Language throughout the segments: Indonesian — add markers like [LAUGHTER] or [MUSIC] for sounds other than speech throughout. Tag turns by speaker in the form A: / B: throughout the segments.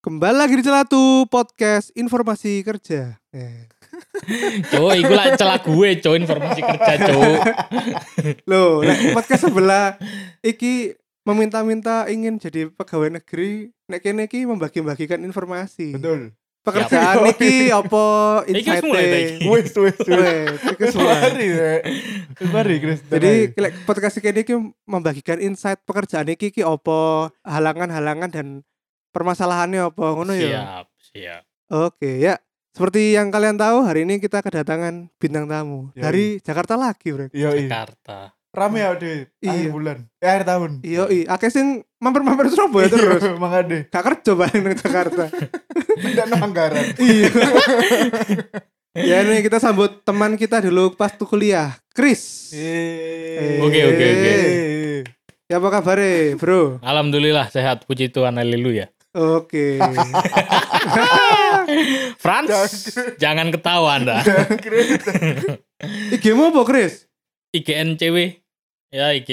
A: Kembali lagi di Celatu Podcast Informasi Kerja. Eh.
B: Cuk, iku lah celah gue, cuk, informasi kerja, cuk.
A: Loh, nek podcast sebelah iki meminta-minta ingin jadi pegawai negeri, nek kene iki membagi-bagikan informasi.
C: Betul.
A: Pekerjaan
C: Yap.
A: iki apa
B: Ya, Iki wis
A: insight
B: mulai ta iki?
C: [LAUGHS] Wes wes wes.
A: Wes, iki
C: Wes
A: semua.
C: mari. Rek. Wes mari Chris.
A: Jadi lek podcast iki iki membagikan insight pekerjaan iki iki apa, halangan-halangan dan permasalahannya apa ngono ya.
B: Siap, siap.
A: Oke, ya. Seperti yang kalian tahu, hari ini kita kedatangan bintang tamu
C: Yoi.
A: dari Jakarta lagi, Bro.
C: yo iya.
B: Jakarta.
C: Rame ya deh. Akhir
A: Iya.
C: bulan. Eh, akhir tahun.
A: Iya, akeh sing mampir-mampir Surabaya
C: [LAUGHS]
A: terus.
C: Iya, Makanya deh.
A: Gak kerja paling nang Jakarta.
C: Tidak no anggaran.
A: iya. ya ini kita sambut teman kita dulu pas tuh kuliah, Chris.
C: Eh.
B: Oke, oke, oke.
C: Eh.
A: Ya apa kabar, Bro?
B: Alhamdulillah sehat, puji Tuhan, haleluya.
A: Oke.
B: Franz, jangan ketawa Anda.
C: Chris.
A: IG-mu apa, Chris?
B: IGNCW. Ya, IG,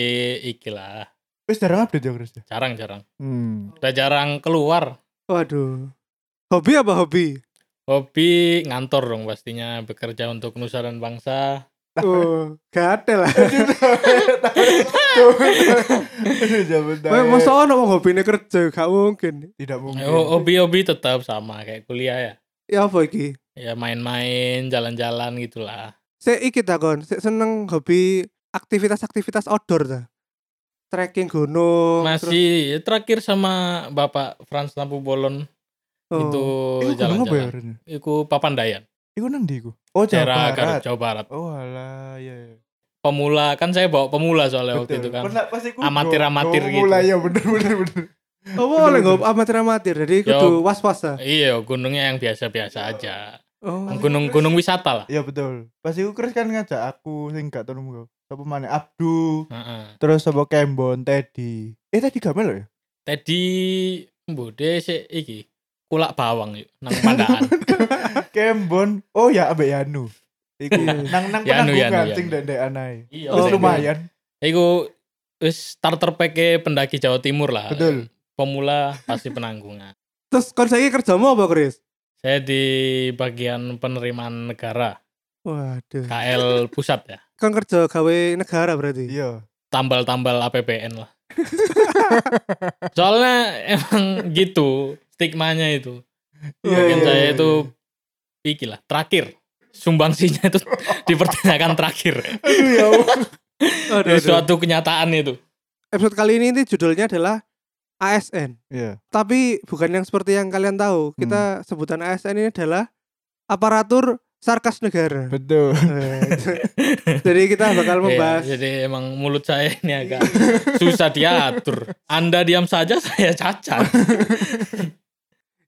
B: IG lah.
C: Wes jarang update ya Chris. ya?
B: Jarang-jarang.
C: Hmm.
B: Udah jarang keluar.
A: Waduh. Hobi apa hobi?
B: Hobi ngantor dong pastinya bekerja untuk nusa dan bangsa.
A: Oh, gak ada lah.
C: Aduh, jaman
A: Wah,
C: tahu.
A: Masa ono wong hobine kerja, gak mungkin.
C: Tidak mungkin.
B: Ho- Hobi-hobi tetap sama kayak kuliah ya.
A: Ya apa iki?
B: Ya main-main, jalan-jalan gitulah.
A: Saya iki takon, saya seneng hobi aktivitas-aktivitas outdoor ta. Trekking gunung. Oh, terus-
B: Masih terakhir sama Bapak Franz Lampu Bolon
A: Oh.
B: itu
C: Iku gunung apa ya,
B: jalan-jalan.
C: Ren?
B: Iku Papandayan,
C: Iku nang ndi iku? Oh,
B: daerah
C: Jawa
B: Garut,
C: Barat.
B: Jawa Barat.
C: Oh, alah, iya iya.
B: Pemula kan saya bawa pemula soalnya waktu itu kan.
C: Pernah pas iku
B: Amatir-amatir
C: go- go
B: gitu.
C: Mulai ya bener bener bener.
A: Oh, boleh nggak amatir-amatir. Jadi
B: Ya.
A: kudu was-was ta.
B: Iya, gunungnya yang biasa-biasa aja.
A: Oh.
B: Gunung-gunung wisata lah.
C: Iya betul. Pas iku Chris kan ngajak aku sing gak tau nemu kau. Sapa maneh Abdu,
B: Heeh.
C: terus sapa Kembon, Teddy. Eh tadi gak melo ya?
B: Tadi mbode sik iki kulak bawang yuk nang
C: [LAUGHS]
B: pandaan.
C: Kembon. Oh ya ambek Yanu. Iku
A: Iya.
C: nang nang
B: Yanu, Yanu,
C: penanggungan sing
B: Yanu.
C: ndek anae.
B: iya,
C: Terus
A: Oh,
B: saya-
C: lumayan.
B: Iku wis starter pack pendaki Jawa Timur lah.
C: Betul.
B: Pemula pasti penanggungan.
A: Terus kon saiki kerjamu apa, Chris?
B: Saya di bagian penerimaan negara
A: Waduh.
B: KL pusat ya.
A: Kon kerja gawe negara berarti.
C: Iya.
B: Tambal-tambal APBN lah. [LAUGHS] Soalnya emang gitu stigmanya itu.
C: Iya,
B: Bagian
C: iya,
B: saya
C: iya,
B: itu
A: iya.
B: iki lah terakhir sumbangsinya itu [LAUGHS] dipertanyakan terakhir.
C: Aduh
A: iya,
C: ya. Allah.
A: Aduh, aduh.
B: Itu suatu kenyataan itu.
A: Episode kali ini itu judulnya adalah ASN.
C: Iya.
A: Tapi bukan yang seperti yang kalian tahu.
C: Hmm.
A: Kita sebutan ASN ini adalah aparatur sarkas negara. Eh,
C: Betul.
A: Jadi kita
C: [LAUGHS]
A: bakal membahas
B: Iya, jadi emang mulut saya ini agak susah diatur. Anda diam saja [LAUGHS] saya cacat.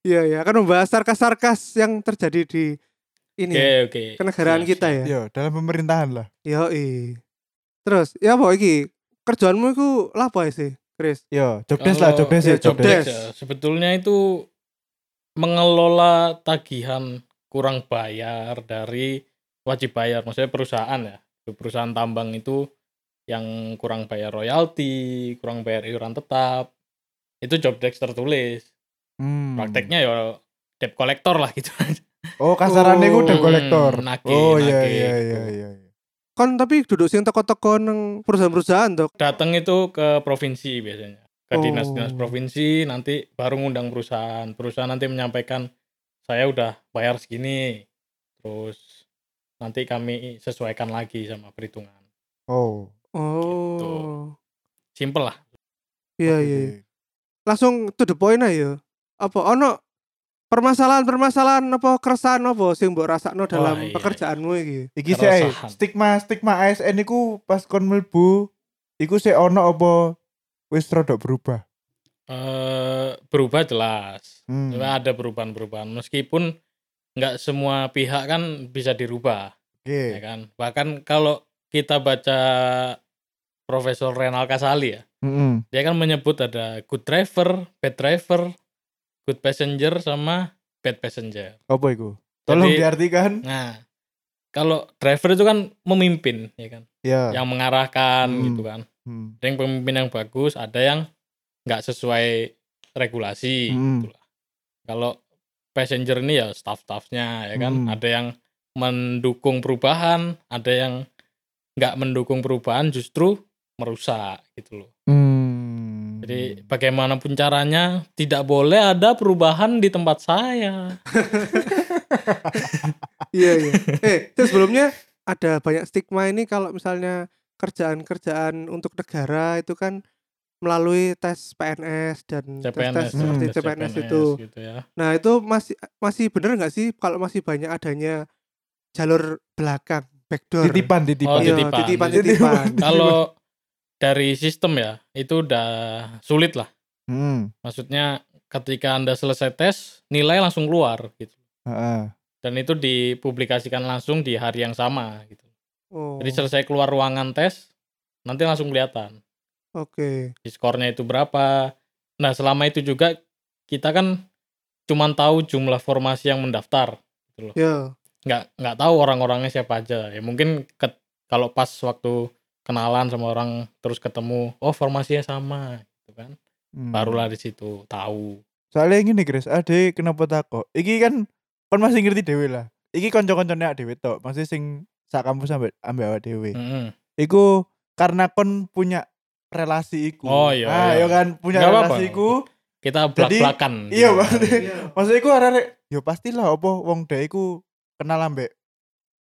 A: Iya ya, akan membahas sarkas-sarkas yang terjadi di ini
B: Oke
A: ya,
B: oke.
A: kenegaraan
B: Siap,
A: kita ya.
C: Iya, dalam pemerintahan lah.
A: Yoi. Terus, ya apa iki? Kerjaanmu iku lapo sih, Chris?
C: Iya, jobdesk lah,
B: Kalau-
C: jobdesk
A: iya,
C: ya, jobdesk.
A: jobdesk.
B: Cek, ya. Sebetulnya itu mengelola tagihan kurang bayar dari wajib bayar. Maksudnya perusahaan ya. Perusahaan tambang itu yang kurang bayar royalti, kurang bayar iuran tetap. Itu job desk tertulis.
C: Hmm.
B: Prakteknya ya debt collector lah gitu.
C: Oh, kasarannya
A: Oh,
C: gue udah kolektor.
B: hmm, nagih,
C: Oh iya
B: nagih.
C: iya iya iya. iya.
A: Kon tapi duduk sing teko-teko nang perusahaan-perusahaan dok.
B: Datang itu ke provinsi biasanya.
A: Oh.
B: Ke dinas-dinas provinsi nanti baru ngundang perusahaan. Perusahaan nanti menyampaikan saya udah bayar segini. Terus nanti kami sesuaikan lagi sama perhitungan.
C: Oh.
A: Oh.
B: Simple lah.
A: Iya
C: oke.
A: iya. iya. Langsung to the point aja. Apa ono permasalahan-permasalahan apa keresahan apa sing mbok rasakno dalam
B: iya, iya.
A: pekerjaanmu iki?
C: Iki sih ay,
B: Keresahan.
C: stigma stigma ASN iku pas kon mlebu iku sih ono apa wis rodok berubah.
B: eh berubah jelas.
C: Hmm. Oke.
B: Ada perubahan-perubahan. Meskipun nggak semua
C: Iya.
B: pihak kan bisa dirubah. ya kan bahkan kalau kita baca Profesor Renal Kasali ya.
C: Mm-mm.
B: Dia kan menyebut ada good driver, bad driver, good passenger sama bad passenger.
C: Apa itu? Tolong
B: Jadi-
C: diartikan.
B: Nah, kalau driver itu kan memimpin ya kan,
C: Ya.
B: yang mengarahkan
C: Hmm.
B: gitu kan.
C: Hmm.
B: Ada yang pemimpin yang bagus, ada yang nggak sesuai regulasi.
C: Hmm.
B: gitu lah. Kalau passenger ini ya staff-staffnya ya kan,
C: Hmm.
B: ada yang mendukung perubahan, ada yang nggak mendukung perubahan justru merusak gitu loh.
C: Hmm.
B: Jadi bagaimanapun caranya tidak boleh ada perubahan di tempat saya.
A: Iya iya. Eh, terus sebelumnya ada banyak stigma ini kalau misalnya kerjaan-kerjaan untuk negara itu kan melalui tes PNS dan tes-tes
B: CPNS,
C: Hmm.
A: seperti
B: tes
A: CPNS, itu.
B: gitu ya.
A: Nah, itu masih masih bener nggak sih kalau masih banyak adanya jalur belakang, backdoor?
C: titipan
B: Oh,
C: titipan.
A: Iya,
B: titipan.
A: titipan,
C: Titipan.
B: [LAUGHS]
A: titipan.
B: Kalau dari sistem ya, itu udah sulit lah.
C: Hmm.
B: Maksudnya ketika Anda selesai tes, nilai langsung keluar gitu.
C: Heeh.
B: Dan itu dipublikasikan langsung di hari yang sama gitu.
A: Oh,
B: Jadi selesai keluar ruangan tes, nanti langsung kelihatan
A: Oke.
B: di skornya itu berapa. Nah, selama itu juga kita kan cuman tahu jumlah formasi yang mendaftar.
A: Ya.
B: nggak nggak tahu orang-orangnya siapa aja ya mungkin ke- kalau pas waktu kenalan sama orang terus ketemu oh formasinya sama gitu kan
C: Hmm.
B: barulah di situ tahu
C: Soalnya gini Chris, ade kenapa takok? Iki kan kon masih ngerti dewe lah. Iki kanca-kancane awake dhewe tok, masih sing sak kampus sampe ambek awake dhewe.
B: Mm-mm.
C: Iku karena kon punya relasi iku.
B: Oh, iya,
C: Ah,
B: iya.
C: ya kan punya
B: Nggak apa-apa.
C: relasi iku.
B: kita belak
C: Jadi,
B: belakan
C: iya, Bang. Maksud iku arek yo pastilah opo wong dhek iku kenal ambek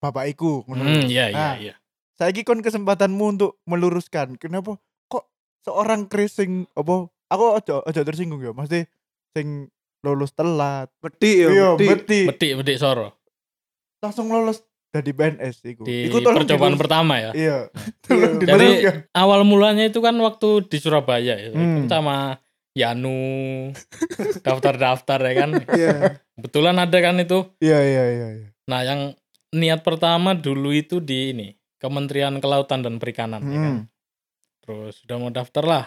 C: bapak iku ngono.
B: iya iya
C: Ah.
B: iya
C: Saiki kon kesempatanmu untuk meluruskan. Kenapa kok seorang Chris sing opo? Aku aja aja tersinggung ya, mesti sing lulus telat.
A: Bedi ya,
C: Iya,
A: bedi.
C: beti.
B: bedik bedik soro
C: langsung lolos dari PNS iku.
B: di
C: iku tolong
B: percobaan
C: dilurus-
B: pertama ya [LAUGHS]
C: Iya. tolong
A: Iya.
B: Jadi-
C: diluruskan.
B: awal mulanya itu kan waktu di Surabaya ya
C: Hmm.
B: sama Yanu daftar daftar ya kan
A: Iya.
B: kebetulan ada kan itu
C: Iya iya iya iya.
B: Nah, yang niat pertama dulu itu di ini Kementerian Kelautan dan Perikanan, ya kan?
C: Hmm.
B: Terus udah mau daftar lah.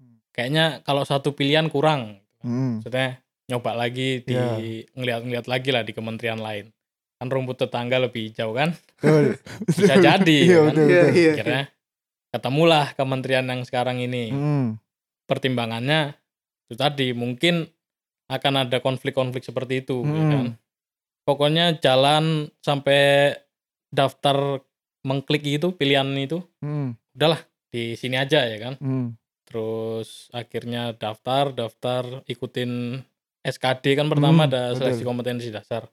C: Hmm.
B: Kayaknya kalau satu pilihan kurang,
C: Hmm.
B: maksudnya nyoba lagi di
C: Ya.
B: ngeliat-ngeliat lagi lah di kementerian lain. Kan rumput tetangga lebih jauh kan?
C: Betul.
B: Bisa jadi,
C: [LAUGHS] Iya
B: kan?
C: betul.
A: Iya,
C: betul.
A: iya.
B: Akhirnya ketemulah kementerian yang sekarang ini.
C: Hmm.
B: Pertimbangannya itu tadi mungkin akan ada konflik-konflik seperti itu, ya
C: Hmm.
B: kan? pokoknya jalan sampai daftar mengklik itu pilihan itu
C: Hmm.
B: di sini aja ya kan
C: Hmm.
B: terus akhirnya daftar daftar ikutin SKD kan pertama
C: Hmm,
B: ada
C: betul.
B: seleksi kompetensi dasar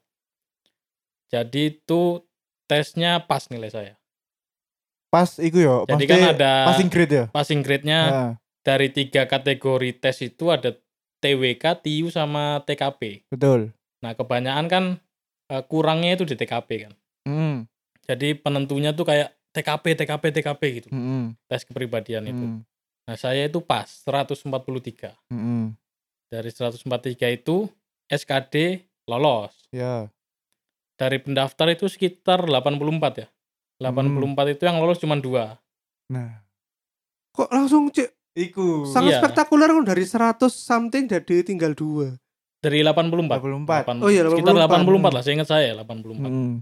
B: jadi itu tesnya pas nilai saya
C: Oh, Pas iku yo.
B: jadi
C: pasti
B: kan ada Nah.
C: passing grade ya.
B: passing grade-nya
C: Ah,
B: dari tiga kategori tes itu ada TWK, TIU sama TKP.
C: betul.
B: Nah, kebanyakan kan eh, kurangnya itu di TKP kan.
C: Hmm.
B: Jadi penentunya tuh kayak TKP, TKP, TKP gitu.
C: Hmm.
B: Tes kepribadian itu.
C: Hmm.
B: Nah, saya itu pas 143.
C: Hmm.
B: Dari 143 itu SKD lolos.
C: Ya.
B: Dari pendaftar itu sekitar 84 ya.
A: Hmm.
B: 84 itu yang lolos cuma dua.
C: Nah,
A: Kok langsung cek
C: iku
A: sangat
B: Iya.
A: spektakuler kan dari 100 something jadi tinggal dua.
B: Dari 84.
C: 84.
A: Oh iya,
B: Sekitar
A: 84.
B: 84 lah, saya ingat saya 84.
C: Hmm.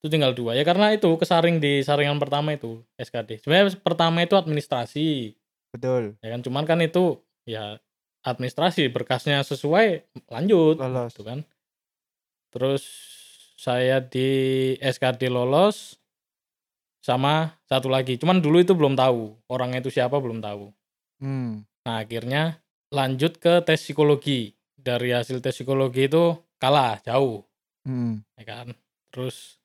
B: Itu tinggal dua. Ya karena itu kesaring di saringan pertama itu SKD. Sebenarnya pertama itu administrasi.
C: Betul.
B: ya kan cuman kan itu ya administrasi berkasnya sesuai lanjut
C: Lolos.
B: gitu kan terus saya di SKD lolos sama satu lagi cuman dulu itu belum tahu orangnya itu siapa belum tahu
C: Hmm.
B: nah akhirnya lanjut ke tes psikologi dari hasil tes psikologi itu kalah jauh
C: Hmm.
B: ya kan terus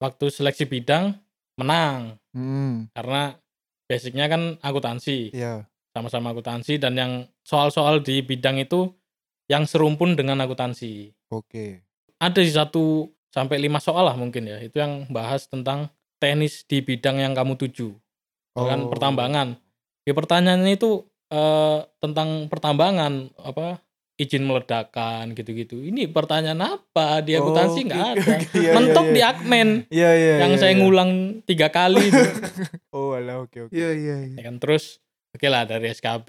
B: waktu seleksi bidang menang
C: Hmm.
B: karena basicnya kan akuntansi
C: Ya.
B: sama-sama akuntansi dan yang soal-soal di bidang itu yang serumpun dengan akuntansi. [LAUGHS]
C: Oke. [LAUGHS]
B: Ada di satu sampai lima soal lah mungkin ya. Itu yang bahas tentang teknis di bidang yang kamu tuju. Kan
C: Oh.
B: pertambangan. Ya pertanyaannya itu eh, tentang pertambangan apa izin meledakan gitu-gitu. Ini pertanyaan apa? Di akuntansi
C: Oh,
B: nggak
C: oke,
B: ada.
C: oke, [LAUGHS] iya,
B: Mentok
C: iya,
B: di
C: iya.
B: Akmen
C: Iya iya.
B: yang
C: iya,
B: saya
C: iya.
B: ngulang tiga kali
C: [LAUGHS]
B: itu.
C: Oh alah oke oke.
A: Iya iya iya.
B: ya kan terus oke lah dari SKB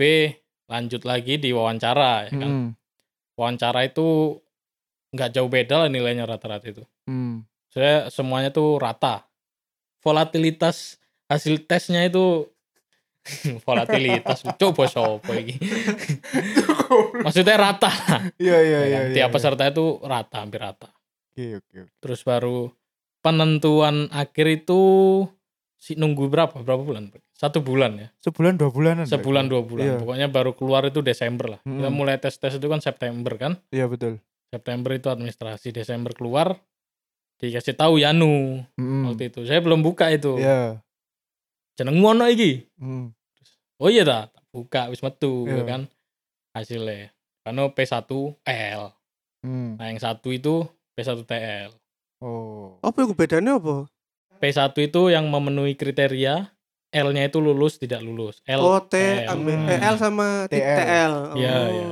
B: lanjut lagi di wawancara ya kan.
C: Hmm,
B: Wawancara itu nggak jauh beda lah nilainya rata-rata itu.
C: hmm.
B: Saya semuanya tuh rata. Volatilitas hasil tesnya itu [LAUGHS] volatilitas coba sopo iki. Maksudnya rata.
C: Iya iya
B: ya
C: iya.
B: kan?
C: iya,
B: Tiap
C: iya.
B: peserta itu rata hampir rata.
C: Oke oke. oke.
B: Terus baru penentuan akhir itu si nunggu berapa berapa bulan? Satu bulan ya.
C: Sebulan dua bulanan. Pak.
B: Sebulan dua bulan.
C: Iya. Hmm.
B: Pokoknya baru keluar itu Desember lah. Kita
C: Mm-mm.
B: mulai tes tes itu kan September kan.
C: Iya betul.
B: September itu administrasi, Desember keluar dikasih tahu Yanu
C: Hmm.
B: waktu itu. Saya belum buka itu.
C: Iya.
B: Jeneng ngono iki.
C: Hmm.
B: Oh iya dah, tak buka wis metu ya
C: Iya.
B: kan. Hasilnya karena P1L.
C: Hmm.
B: Nah, yang satu itu P1TL.
C: Oh.
A: Apa yang bedanya apa?
B: P1 itu yang memenuhi kriteria L-nya itu lulus tidak lulus. L
A: Oh T
B: L.
A: ambil
C: Hmm.
A: eh, L sama T-
C: TL.
A: TL.
B: Iya,
A: Oh.
B: iya.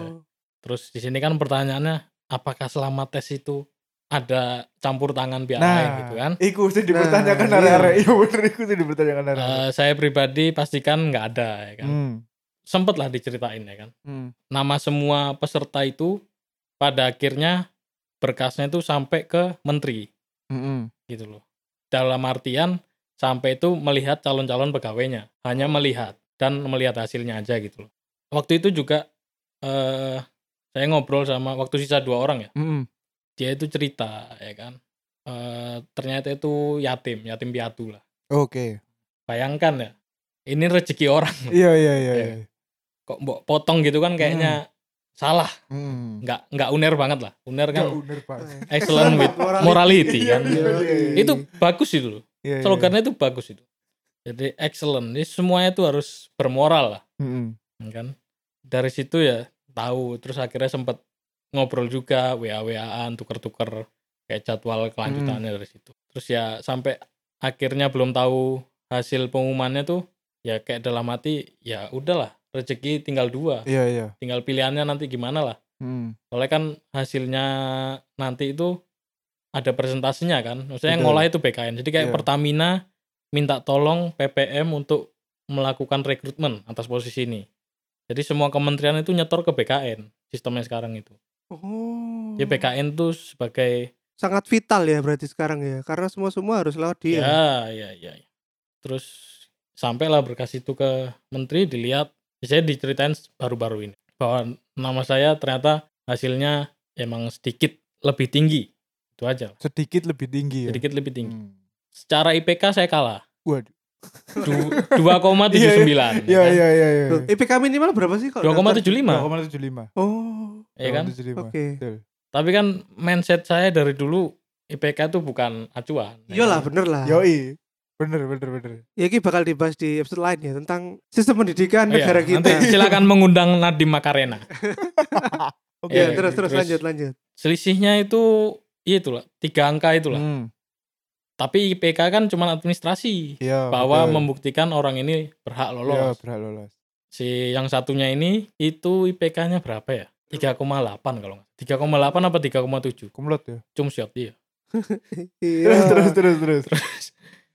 B: Terus di sini kan pertanyaannya apakah selama tes itu ada campur tangan pihak lain gitu kan?
C: Nah, Iku sih
A: Nah,
C: dipertanyakan
A: iya.
C: arek-arek. Iya bener iku sih dipertanyakan arek-arek.
B: Eh, saya pribadi pastikan nggak ada ya kan.
C: Hmm.
B: Sempet lah diceritain ya kan.
C: Hmm.
B: Nama semua peserta itu pada akhirnya berkasnya itu sampai ke menteri
C: Hmm.
B: gitu loh. Dalam artian sampai itu melihat calon-calon pegawainya, hanya melihat dan melihat hasilnya aja gitu loh. Waktu itu juga eh saya ngobrol sama waktu sisa dua orang ya.
C: Hmm.
B: Dia itu cerita ya kan. Eh ternyata itu yatim, yatim piatu lah.
C: Oke.
B: Bayangkan ya. Ini rezeki orang [LAUGHS]
C: Iya iya iya.
B: Iya.
C: iya.
B: kok mbok potong gitu kan kayaknya salah,
C: Hmm.
B: nggak nggak uner banget lah. Uner kan
C: Gak uner pak.
B: excellent with morality kan.
C: Iya, iya, iya, iya.
B: Itu bagus itu loh.
C: Iya, iya.
B: slogannya itu bagus itu jadi excellent ini semuanya itu harus bermoral lah
C: Hmm.
B: ya kan dari situ ya tahu terus akhirnya sempat ngobrol juga wa waan tuker tuker kayak jadwal kelanjutannya dari situ terus ya sampai akhirnya belum tahu hasil pengumumannya tuh ya kayak dalam hati ya udahlah rezeki tinggal dua
C: Iya iya.
B: tinggal pilihannya nanti gimana lah
C: Hmm.
B: soalnya kan hasilnya nanti itu ada presentasinya kan maksudnya yang
C: Betul.
B: ngolah itu BKN jadi kayak
C: Iya.
B: Pertamina minta tolong PPM untuk melakukan rekrutmen atas posisi ini jadi semua kementerian itu nyetor ke BKN sistemnya sekarang itu Ya,
A: Oh.
B: jadi BKN tuh sebagai
A: Sangat vital ya berarti sekarang ya. Karena semua semua harus lewat dia.
B: ya
C: Iya.
B: ya ya ya. terus sampailah berkas itu ke menteri dilihat saya diceritain baru-baru ini bahwa nama saya ternyata hasilnya emang sedikit lebih tinggi itu aja
C: Sedikit lebih tinggi ya.
B: sedikit lebih tinggi.
C: Hmm.
B: Secara IPK saya kalah.
C: Waduh. [LAUGHS]
B: Du- 2,79.
C: Iya
B: ya kan?
C: iya iya iya.
A: Loh, IPK minimal berapa sih kalau? daftar?
B: 2,75.
C: 2,75.
A: Oh.
B: Ya kan?
C: 2,75.
A: Oke.
C: Iya, Betul.
B: Tapi kan mindset saya dari dulu IPK itu bukan acuan. ya
A: Iyalah
B: kan?
A: bener Iya lah.
C: Yoi. Bener bener bener.
A: Ya ini bakal dibahas di episode lain ya tentang sistem
C: kan
A: pendidikan
B: Oh iya,
A: negara kita.
B: Nanti silakan mengundang Nadiem Makarena.
C: Oke.
A: Iya,
B: Iya,
A: terus, terus
B: terus.
A: lanjut lanjut.
B: Selisihnya itu iya itulah tiga angka itulah.
C: Hmm.
B: Tapi IPK kan cuma administrasi
C: Iya.
B: bahwa
C: betul.
B: membuktikan orang ini berhak
C: Iya,
B: lolos.
C: berhak lolos.
B: Si yang satunya ini itu IPK-nya berapa ya? 3,8 kalau nggak. 3,8 apa 3,7?
C: Kumlot ya.
B: Cum siap dia.
A: Iya.
C: [LAUGHS] Terus terus terus terus.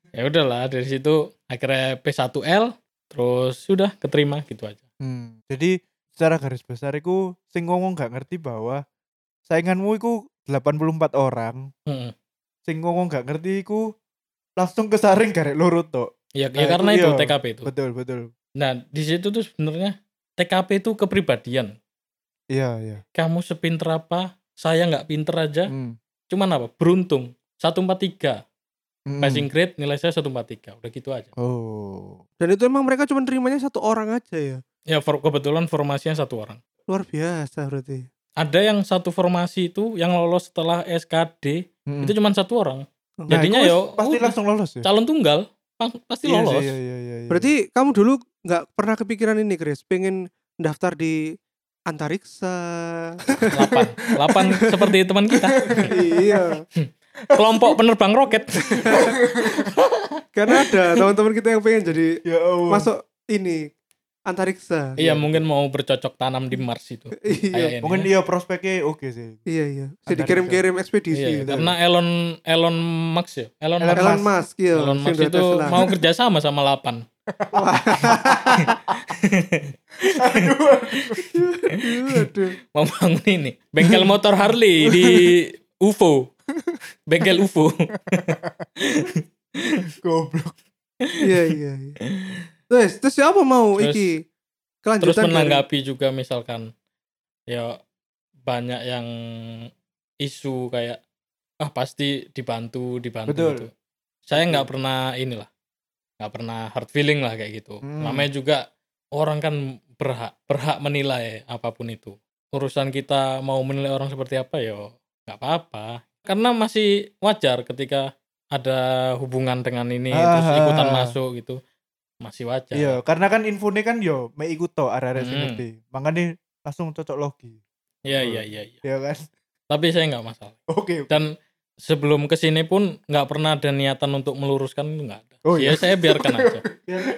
B: ya udahlah dari situ akhirnya P1L terus sudah keterima gitu aja
C: Hmm. Jadi secara garis besar iku sing ngomong gak ngerti bahwa sainganmu iku 84 orang,
B: Heeh.
C: sing ngomong gak ngerti iku langsung kesaring garek loro tok.
B: ya,
C: Nah,
B: ya
C: itu
B: karena itu
C: iya.
B: TKP itu
C: Betul, betul.
B: nah di situ tuh sebenarnya TKP itu kepribadian
C: Iya, iya.
B: kamu sepinter apa saya nggak pinter aja
C: Hmm.
B: cuman apa beruntung 143
C: Hmm.
B: passing grade nilai saya 143 udah gitu aja
C: Oh.
A: Dan itu emang mereka cuma terimanya satu orang aja ya.
B: ya for- kebetulan formasinya satu orang
A: Luar biasa berarti.
B: ada yang satu formasi itu yang lolos setelah SKD
C: Hmm.
B: itu cuman satu orang
A: Nah,
B: jadinya
C: Iku
B: ya
C: pasti
B: udah,
C: langsung lolos ya.
B: calon tunggal pa- pasti
C: Iya sih,
B: lolos
C: Iya, iya, iya, iya.
A: Berarti kamu dulu nggak pernah kepikiran ini, Chris, pengen daftar di antariksa.
B: 8 8 seperti teman kita
C: [LAUGHS]
A: iya.
B: kelompok penerbang roket
A: Karena ada teman-teman kita yang pengen jadi
C: ya Allah.
A: masuk ini antariksa.
B: Iya mungkin mau bercocok tanam di Mars itu.
A: iya,
B: kayaknya
C: Mungkin
B: ya.
C: iya prospeknya oke sih.
A: iya, iya. Jadi
C: Antariksa.
A: dikirim-kirim ekspedisi.
B: Iya,
A: gitu.
B: karena Elon Elon Musk ya. Elon
C: Elon
B: Musk,
A: Elon Musk, iya.
B: Elon
A: sing
B: Musk
A: duwe
B: itu
A: Tesla.
B: mau kerja sama sama Lapan.
A: aduh,
B: [LAUGHS]
A: aduh.
B: Mau bangun ini bengkel motor Harley di UFO. Bengkel UFO.
C: Goblok.
A: Iya, iya, iya. Terus, terus siapa mau
B: Terus-
A: iki?
B: Terus
A: Kelanjutan dari-
B: menanggapi juga misalkan ya banyak yang isu kayak ah pasti dibantu dibantu
C: Betul.
B: gitu. Saya nggak pernah inilah. nggak pernah hard feeling lah kayak gitu.
C: Hmm.
B: Namanya juga orang kan berhak berhak menilai apapun itu. Urusan kita mau menilai orang seperti apa ya nggak apa-apa. Karena masih wajar ketika ada hubungan dengan ini terus
C: Ah.
B: ikutan masuk gitu. Masih wajar.
C: Iya, karena kan infonya kan yo me ikut to arek-arek sing
B: Hmm.
C: ngerti. Makanya langsung cocok logi.
B: Iya
C: Betul.
B: iya iya iya.
C: Ya kan? [LAUGHS]
B: Tapi saya nggak masalah.
C: Oke.
B: Dan sebelum kesini pun nggak pernah ada niatan untuk meluruskan itu nggak ada.
C: Oh,
B: ya
C: iya.
B: saya biarkan
C: [LAUGHS]
B: aja.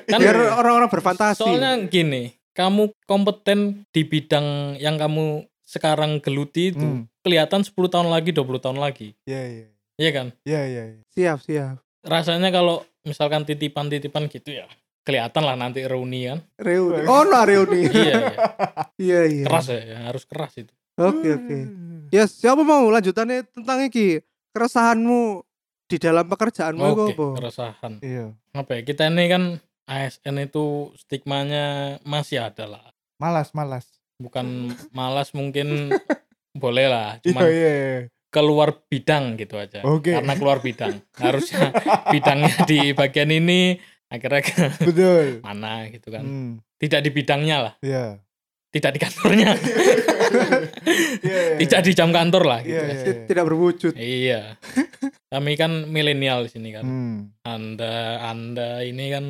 B: Kan-
A: biar orang-orang berfantasi.
B: Soalnya gini, kamu kompeten di bidang yang kamu sekarang geluti itu
C: Hmm.
B: kelihatan 10 tahun lagi, 20 tahun lagi.
C: Iya, iya.
B: Iya kan?
C: Iya, iya. iya.
A: siap, siap.
B: Rasanya kalau misalkan titipan-titipan gitu ya, kelihatan lah nanti reuni kan.
C: [LAUGHS]
A: Reuni. Oh, no reuni.
B: [LAUGHS] iya, iya.
A: Iya, iya.
B: keras ya, ya, harus keras itu.
A: Oke, oke. Yes, siapa mau lanjutannya tentang iki? Keresahanmu di dalam pekerjaanmu iku
B: Oke,
A: apa?
B: keresahan.
C: Iya.
B: Apa ya, kita ini kan ASN itu stigmanya masih ada lah.
C: Malas, malas. [LAUGHS]
B: bukan malas mungkin boleh lah
C: Iya,
B: cuman
C: iya. iya.
B: keluar bidang gitu aja [LAUGHS]
C: Oke.
B: karena keluar bidang
C: [LAUGHS]
B: harusnya bidangnya di bagian ini akhirnya ke
C: Betul.
B: mana gitu kan
C: Hmm.
B: tidak di bidangnya lah
C: Iya.
B: tidak di kantornya
C: Iya, iya.
B: tidak di jam kantor lah
C: Iya,
B: gitu
C: iya.
B: ya.
A: Ti- Eh, Tidak berwujud.
B: iya kami kan milenial di sini kan
C: Hmm.
B: anda anda ini kan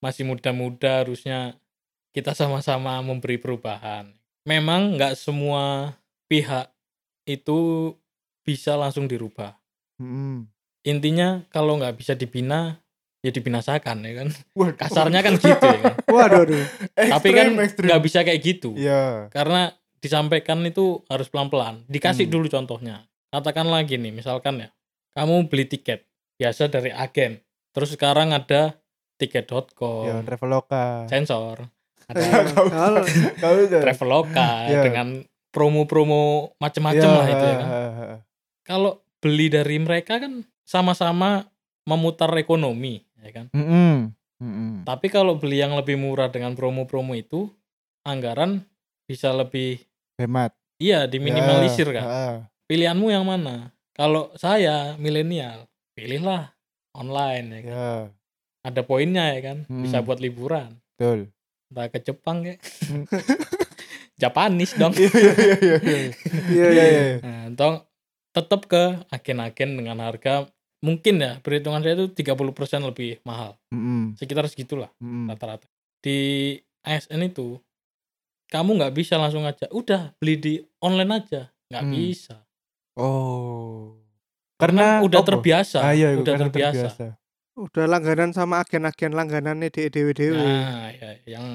B: masih muda-muda harusnya kita sama-sama memberi perubahan memang nggak semua pihak itu bisa langsung dirubah
C: Hmm.
B: intinya kalau nggak bisa dibina ya dibinasakan ya kan
C: Waduh. [LAUGHS]
B: kasarnya kan gitu ya kan?
A: Waduh, aduh.
B: tapi
C: Ekstrem,
B: kan
C: ekstrem.
B: nggak bisa kayak gitu
C: Iya.
B: karena disampaikan itu harus pelan-pelan dikasih
C: Hmm.
B: dulu contohnya katakan lagi nih misalkan ya kamu beli tiket biasa dari agen terus sekarang ada
C: Iya,
B: tiket.com
C: Traveloka.
B: sensor ada
A: Eh,
C: [LAUGHS] Nggak usah.
A: halo.
C: Nggak usah.
B: traveloka
C: [LAUGHS] Iya.
B: dengan promo-promo macem-macem
C: Iya,
B: lah itu ya kan
C: ha, ha, ha.
B: kalau beli dari mereka kan sama-sama memutar ekonomi ya kan
C: Mm-mm. Mm-mm.
B: Tapi kalau beli yang lebih murah dengan promo-promo itu, anggaran bisa lebih
C: Hemat.
B: iya diminimalisir
C: Ya,
B: kan.
C: ha, ha.
B: Pilihanmu yang mana? Kalau saya milenial, pilihlah online ya kan.
C: Ya,
B: Ada poinnya ya kan. Bisa
C: Hmm.
B: buat liburan.
C: betul. [LAUGHS]
B: Entah ke Jepang ya.
C: Hmm.
B: [LAUGHS] Japanis dong.
C: Iya, iya, iya, iya, iya.
A: Iya,
C: Iya,
A: iya.
C: iya.
B: [LAUGHS] Nah, entah tetap ke agen-agen dengan harga mungkin ya perhitungan saya itu 30% lebih mahal.
C: Mm-mm.
B: Sekitar segitulah.
C: Mm-mm.
B: rata-rata di ASN itu kamu nggak bisa langsung aja udah beli di online aja nggak
C: Hmm.
B: bisa
C: Oh.
B: karena udah
C: apa?
B: terbiasa
C: Ah, iya,
B: udah
C: karena
B: terbiasa, Nah,
A: Udah langganan sama agen-agen langganannya di dewe-dewe.
B: nah ya, yang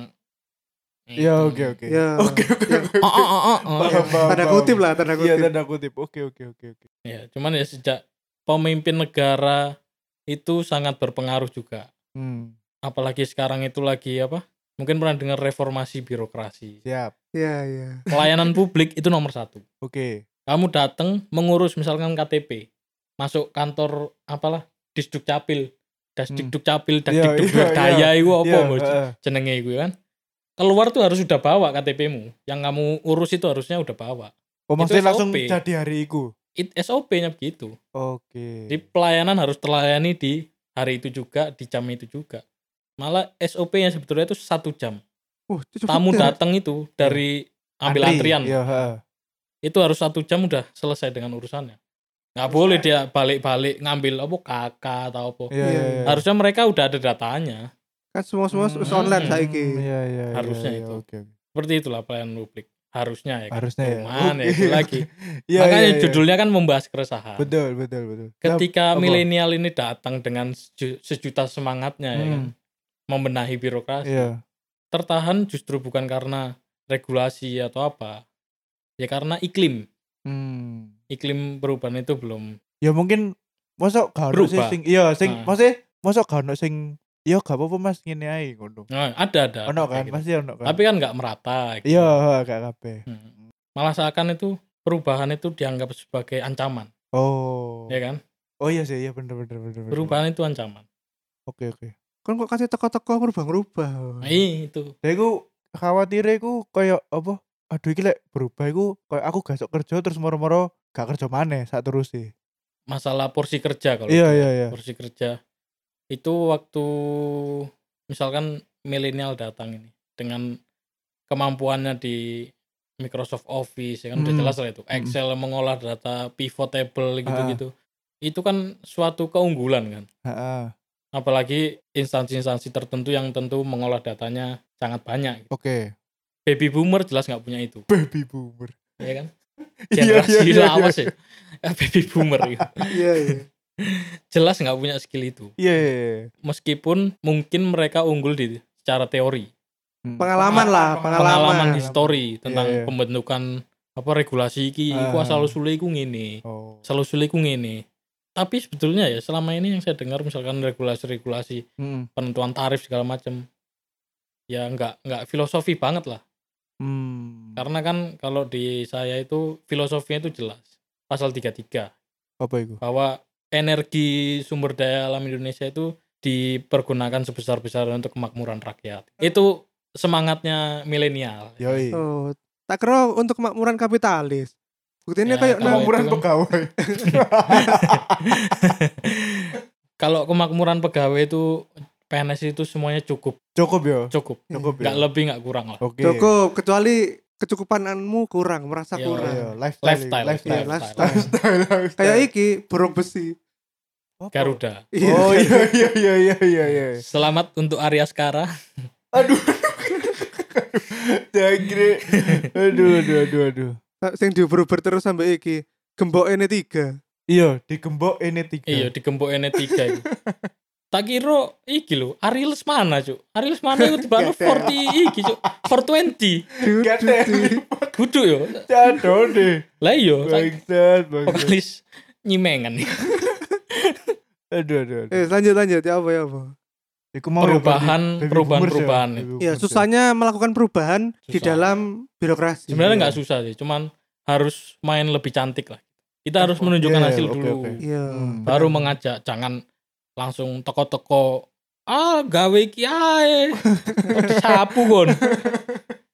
C: Iya,
B: itu.
C: oke, oke.
A: Ya.
C: Oke, oke,
A: Ya.
C: oke.
B: oh, oh, oh, oh, oh,
C: Paham, paham,
A: Tanda
C: paham.
A: kutip lah, tanda
C: Iya,
A: kutip.
C: tanda kutip. Oke, oke, oke, oke.
B: ya cuman ya sejak pemimpin negara itu sangat berpengaruh juga
C: Hmm,
B: apalagi sekarang itu lagi apa mungkin pernah dengar reformasi birokrasi
C: siap.
A: Iya, iya.
B: pelayanan publik itu nomor satu
C: Oke.
B: kamu datang mengurus misalkan KTP masuk kantor apalah disduk capil dasdikduk capil dasdikduk
C: Hmm. Iya, iya,
B: berdaya itu apa
C: Iya,
B: Bos?
C: ha, ha.
B: jenenge itu kan keluar tuh harus sudah bawa KTP-mu yang kamu urus itu harusnya udah bawa
C: Oh, maksudnya
B: SOP.
C: langsung jadi hari itu.
B: It, SOP-nya begitu
C: Oke.
B: di pelayanan harus terlayani di hari itu juga di jam itu juga malah SOP-nya sebetulnya itu satu jam
A: Wah, itu cepet
C: [LAUGHS]
B: tamu
A: ya.
B: datang itu dari ambil
C: Antri.
B: antrian
C: Iya, ha.
B: itu harus satu jam udah selesai dengan urusannya nggak boleh dia balik-balik ngambil apa kakak atau apa
C: Iya, iya, iya.
B: harusnya mereka udah ada datanya
A: Kan semua-semua
C: Hmm,
A: wis online
B: hmm,
A: saiki.
C: Iya, iya, iya,
B: Harusnya
C: iya,
B: itu.
C: Oke. oke.
B: seperti itulah pelayanan publik harusnya ya kan?
C: Harusnya ya.
B: cuman ya itu
C: Oke.
B: lagi
C: [LAUGHS] Iya,
B: makanya
C: iya, iya.
B: judulnya kan membahas keresahan
C: Betul, betul, betul.
B: ketika
C: apa?
B: milenial ini datang dengan seju- sejuta semangatnya ya kan
C: Hmm,
B: membenahi birokrasi
C: Iya.
B: tertahan justru bukan karena regulasi atau apa. Ya karena iklim.
C: Hmm.
B: Iklim perubahan itu belum.
C: ya mungkin masa gak ono sih
B: Berubah.
C: sing iya sing
B: Ah.
C: maksudnya masa gak ono sing iya gak apa-apa mas ngene ae ngono
B: Nah, ada ada.
C: ono
B: ada
C: kan
B: gitu.
C: pasti ono kan
B: Tapi kan nggak merata. gitu.
C: iya gak kabeh
B: Hmm. Malah seakan itu perubahan itu dianggap sebagai ancaman,
C: oh
B: ya kan?
C: oh iya sih iya bener bener bener bener.
B: Perubahan itu ancaman.
C: oke oke
A: Kan kok kasih teko-teko
C: [LAUGHS]
A: berubah-ubah.
B: Nah,
C: Hmm.
B: iya, itu.
C: Lah iku khawatire iku koyo apa? Aduh iki lek berubah iku koyo aku gak sok kerja terus moro-moro gak kerja maneh sak terus sih.
B: Masalah porsi kerja kalau gitu.
C: Iya
B: itu.
C: iya iya.
B: porsi kerja itu waktu misalkan milenial datang ini dengan kemampuannya di Microsoft Office ya kan udah
C: Hmm.
B: jelas lah itu
C: Hmm.
B: Excel mengolah data pivot table gitu-gitu
C: Ah.
B: itu kan suatu keunggulan kan
C: Heeh.
B: apalagi instansi-instansi tertentu yang tentu mengolah datanya sangat banyak
C: Oke.
B: baby boomer jelas nggak punya itu
C: Baby
B: [LAUGHS]
C: boomer.
B: ya kan
C: [LAUGHS] Iya iya
B: generasi
C: iya.
B: lawas ya baby boomer gitu.
A: Iya, iya.
B: jelas nggak punya skill itu
C: Iya iya. iya.
B: meskipun mungkin mereka unggul di secara teori
C: Hmm.
A: Pengalaman lah,
B: pengalaman
A: pengalaman.
B: histori tentang
C: Iya, iya.
B: pembentukan apa regulasi iki iku
C: Ah.
B: asal usule iku ngene
C: Oh.
B: asal usule iku ngene tapi sebetulnya ya selama ini yang saya dengar misalkan regulasi-regulasi
C: Hmm.
B: penentuan tarif segala macam ya nggak nggak filosofi banget lah
C: Hmm.
B: karena kan kalau di saya itu filosofinya itu jelas pasal 33
C: Apa iku?
B: bahwa energi sumber daya alam Indonesia itu dipergunakan sebesar-besarnya untuk kemakmuran rakyat itu semangatnya milenial
C: Yoi.
A: Oh, tak kira untuk kemakmuran kapitalis. Buktinya kayak nang
B: Ya, kalau itu
C: Pengangguran
B: kan-
C: pegawai.
B: kalau kemakmuran pegawai itu PNS itu semuanya cukup
C: Cukup yo.
B: cukup
C: Cukup
B: nggak
C: yo.
B: lebih nggak kurang lah
C: Oke.
A: cukup kecuali kecukupananmu kurang, merasa
B: Iya,
A: kurang.
C: Iya, lifestyle.
B: lifestyle
A: lifestyle.
B: lifestyle, iya.
A: Lifestyle. Kayak iki burung besi.
C: Apa?
B: Garuda
C: Oh
A: [LAUGHS]
C: [LAUGHS] iya iya iya iya iya. iya.
B: selamat untuk Arya Skara
C: Aduh. Jangkrik. Aduh aduh aduh aduh.
A: Sing diobrol terus sampai iki. Gembok ini tiga.
C: Iya, digembok ini tiga.
B: iya digembok ene tiga itu tak kira iki lho Ariel mana cuk Ariel mana itu tiba 40 iki cuk 420
A: Dudu,
C: Gateli.
B: buduk yo
C: Jadon deh.
B: lah iyo tak-
C: Bangsat, bangsat.
B: vokalis nyimengan
C: Aduh, aduh, aduh.
A: Eh, lanjut lanjut ya apa ya apa.
C: Iku mau
B: perubahan
C: ya, baby
B: perubahan
C: boomers ya,
B: perubahan
C: baby boomers
A: Ya, susahnya melakukan perubahan di
B: Susah.
A: dalam birokrasi.
B: sebenarnya
C: Iya.
B: nggak susah sih cuman harus main lebih cantik lah kita harus
C: Oke,
B: menunjukkan hasil
C: oke,
B: dulu
C: oke.
A: Iya.
C: Hmm.
B: baru mengajak jangan langsung teko-teko ah gawe iki ae
C: [LAUGHS]
B: Kok disapu kon